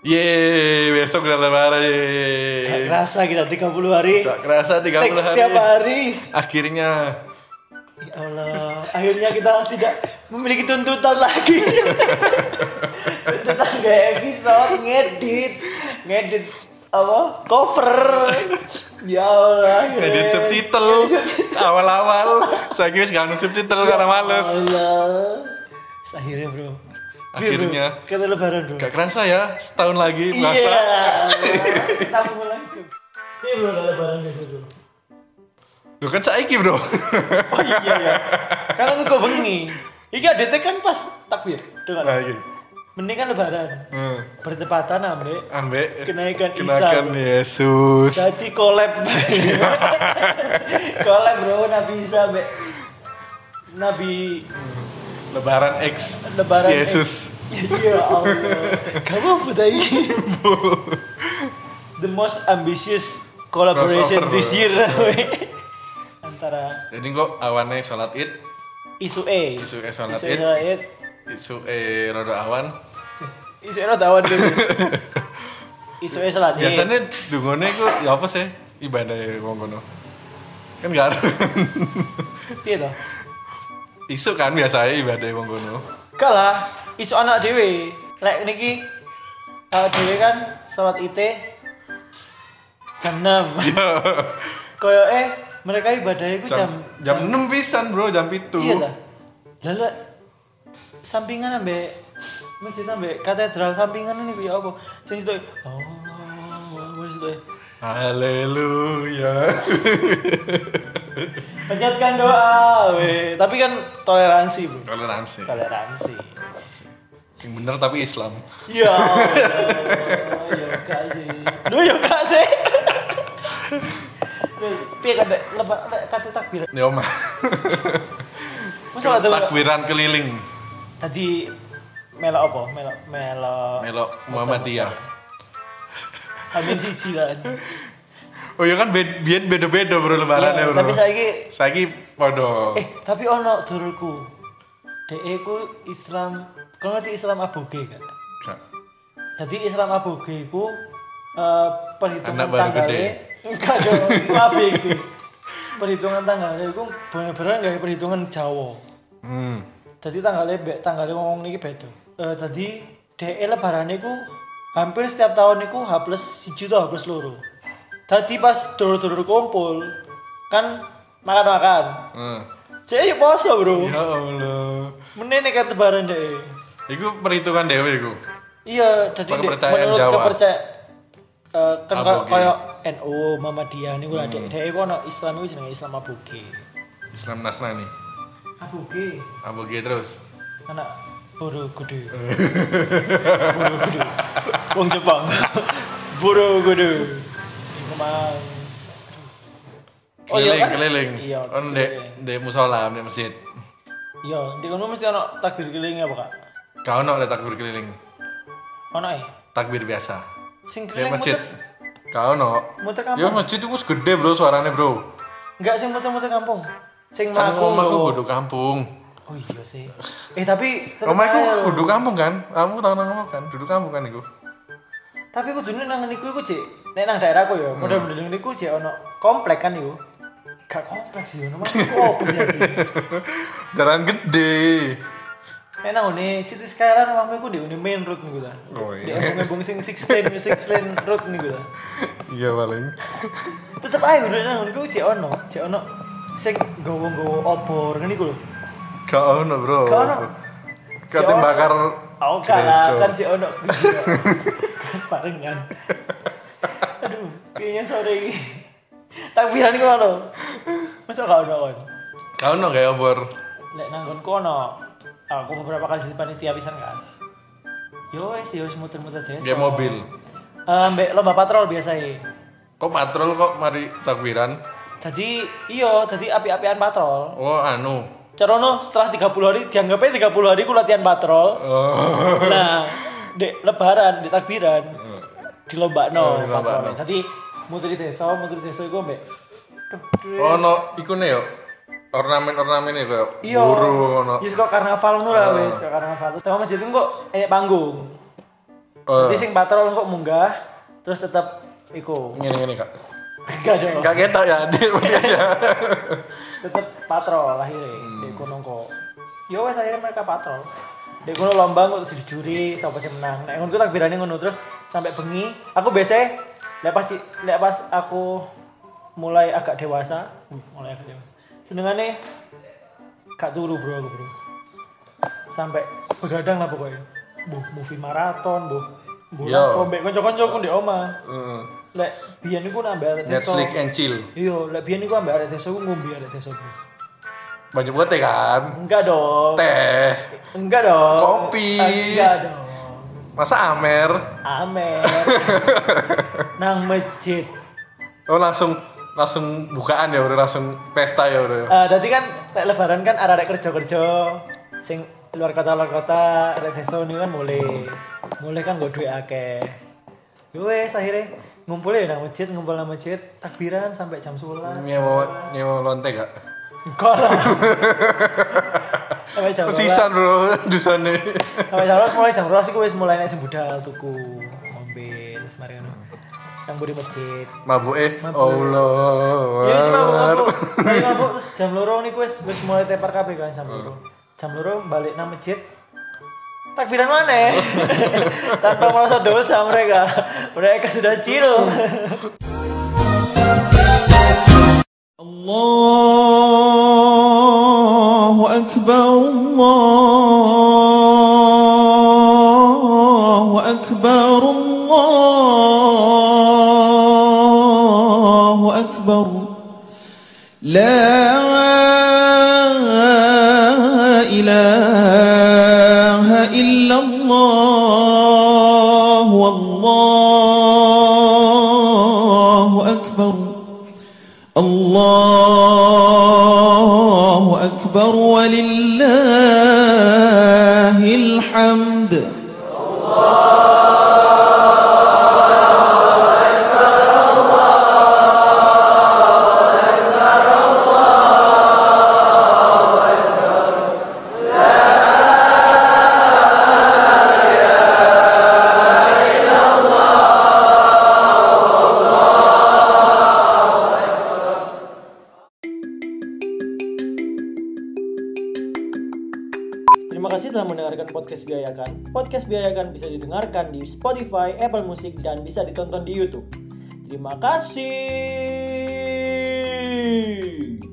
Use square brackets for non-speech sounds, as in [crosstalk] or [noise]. Yeay, besok udah lebaran. yeay. Gak kerasa kita 30 hari. Tak kerasa 30 Take Iya. hari. setiap hari. Akhirnya Ya Allah, akhirnya kita tidak memiliki tuntutan lagi. tuntutan gak episode, ngedit, ngedit apa? Cover. ya Allah. akhirnya. edit subtitle awal-awal. Saya kira sekarang subtitle karena males. Ya Allah. Terus Akhirnya bro. Iya, bro. Akhirnya. Kita lebaran bro. Gak kerasa ya, setahun lagi Iya. merasa Kita mulai tuh. Iya bro, udah lebaran gitu bro. Lu kan saiki, Bro. Oh iya ya. Karena tuh kau bengi. Iki ADT kan pas takbir. Dengar. Nah, gitu. Mending kan lebaran. Hmm. Bertepatan ambek Ambek Kenaikan Isa, kenaikan bro. Yesus. jadi [laughs] collab. collab bro Nabi Isa ambek Nabi Lebaran X. lebaran. eh. Yesus. [laughs] Ya Allah. Kamu apa tadi? The most ambitious collaboration Crossover, this bro. year. Antara Jadi kok awannya sholat Id, isu E. Isu E sholat Isu Id. sholat Id. isu eh rodo awan. Isu E tawan [laughs] dulu. Isu E sholat Id. Biasanya dungone ku ya apa sih ibadah ya wong kono. Kan gak ada. [laughs] Piye toh? isu kan biasanya ibadah wong kono. Gak lah, isu anak dewe. Lek niki uh, dewe kan sholat IT jam [laughs] 6. Koyo eh mereka ibadahnya iku jam jam jam 6 pisan, Bro, jam 7. Iya ta? Lala sampingan ambek masjid ambek katedral sampingan ini ya apa? Sing situ oh wis itu. [laughs] Haleluya. Panjatkan doa we. Tapi kan toleransi, Bro. Toleransi. Toleransi. Sing bener tapi Islam. Ya Allah, ya gak sih. Lu ya gak sih. Piye kan Dek? lebar Dek, kata takbir. Ya Oma. Masa ada Takbiran keliling tadi melok apa? Melok melok melok Muhammadiyah. Amin siji kan. Oh iya kan bed- biyen beda-beda bro lebaran ya, Iya, bro. Tapi saiki saiki podo. eh tapi ono dulurku. Dek ku Islam, kau ngerti Islam aboge kan? Jadi Islam aboge ku eh, perhitungan Anak baru gede. tanggalnya [laughs] enggak dong, ngabe iku. Perhitungan tanggalnya iku bener-bener enggak perhitungan Jawa. Hmm. Jadi tanggalnya be, tanggalnya ngomong niki beda. Eh tadi DE E lebaran iku hampir setiap tahun iku H plus siji to H plus loro. Tadi pas dulur-dulur kumpul kan makan-makan. Hmm. Jadi poso, Bro. Ya Allah. Menene kan lebaran DE. Iku perhitungan dewe iku. Iya, jadi dek, Kepercayaan menurut Jawa. kepercaya eh, kan kaya Aboge. Hmm. koyo NU, Muhammadiyah niku lah dek. Dek iku ono Islam iku jenenge Islam Aboge. Islam Nasrani. Aboge. Aboge gitu terus. anak [laughs] Borobudur Borobudur wong Jepang [laughs] Borobudur Kemang Keliling, keliling. Oh, Iya, on keliling. de, de musola, de masjid. Iya, di kono mesti ono takbir keliling apa Kak? Kau no ada takbir keliling. Ono eh. Takbir biasa. Sing Di keliling masjid. muter- Kau no. Muter Ya kampung. masjid itu segede bro suaranya bro. Enggak sing muter-muter kampung. Sing Kan mlaku. rumahku lho. kudu kampung. Oh iya sih. Eh tapi tetep aja lho. Rumahku kudu kampung kan? Kamu tahu nang kampung kan? Duduk kampung kan iku. [laughs] Tapi kudune nang niku iku Cik. Nek nang daerahku ya, Hmm. model-model niku Cik ono komplek kan iku. Gak kompleks sih, ono mah opo sih. Jalan gede. Nek nang ngene City Skyline omahmu iku ndek ngene main road niku ta. Oh, iya. Ndek ngomong sing six lane six lane road niku ta. Iya paling. Tetep ae udah nang niku cek ono, cek ono sing gowo-gowo obor ngene iku lho. Kau no bro. Gak ono. Kate Gak bakar. Aku kalah gereja. kan cek ono. [laughs] Barengan. Aduh, kayaknya sore ini. Takbiran iku ono. Masa gak ono kon? Kau no kayak obor. Lek nang nggonku ono. Aku beberapa kali jadi panitia pisan kan. Yo wes, yo wes muter-muter desa. Kayak mobil. Eh, Mbak lomba patrol biasa ya. Kok patrol kok mari takbiran? Jadi iyo, jadi api-apian patrol. Oh anu. Carono setelah 30 hari dianggapnya 30 hari ku latihan patrol. Oh. [laughs] Nah, dek lebaran, di takbiran, di lomba no Oh, dilombakno. Tadi muter di desa, muter di desa iku mbek. Duh, duh. Oh no, iku nih yo. Ornamen-ornamen e iku yo. Iyo. Burung ono. Yes kok ya karnaval ngono lah Oh. wes, kok karnaval. Tapi masjid iku kok kayak panggung. Jadi sing patrol kok munggah terus tetap iku. Ngene ngene kak. Gak ada. Gak ketok ya, [laughs] dia berarti aja. Tetap patrol akhirnya. Hmm. Dek kono kok. Yo wes akhirnya mereka patrol. Dek kono lomba kok dijuri sapa sing menang. Nek ngono ku takbirane ngono terus sampai bengi. Aku biasa lek pas ci- lek pas aku mulai agak dewasa, wih, mulai agak dewasa. Senengane gak turu bro aku bro. Sampai begadang lah pokoknya. Buh, movie maraton, buh. Buh, Yo. aku mbek kanca-kanca aku ndek omah. Heeh. Lek biyen iku nambah arek desa. Netflix and chill. Iya, lek biyen iku ambek arek desa ku ngombe arek desa, Bro. Banyak banget ya kan. Enggak dong. Teh. Enggak dong. Kopi. Enggak dong. Masa Amer? [laughs] Amer. Nang masjid. Oh langsung langsung bukaan ya, udah langsung pesta ya udah. Eh, tadi kan lek lebaran kan arek-arek kerja-kerja sing luar kota luar kota arek desa ini kan mulai mulai kan gue duit akeh Yo wes akhirnya ngumpul ya nang masjid ngumpul nang masjid takbiran sampai jam Iya. 11 Nyewa nyewa lonte gak? enggak [laughs] lah Ya sampai jam 11 Sisan bro, [laughs] dusane. Sampai jam 12 mulai jam 12 iku wis mulai nek sembudal tuku ngombe terus mari ngono. Nang buri masjid. Mabuk Iya eh, Mabuk. Allah. Ya wis mabuk mabuk. Mari mabuk terus jam 2 niku wis wis mulai tepar kabeh kan jam 2. Jam 2 balik nang masjid. Takbiran mana? [laughs] Tanpa merasa dosa mereka. Mereka sudah chill. [laughs] الله أكبر الله أكبر الله أكبر لا إله إلا الله والله أكبر الله أكبر ولله الحمد Terima kasih telah mendengarkan podcast Biayakan. Podcast Biayakan bisa didengarkan di Spotify, Apple Music, dan bisa ditonton di YouTube. Terima kasih.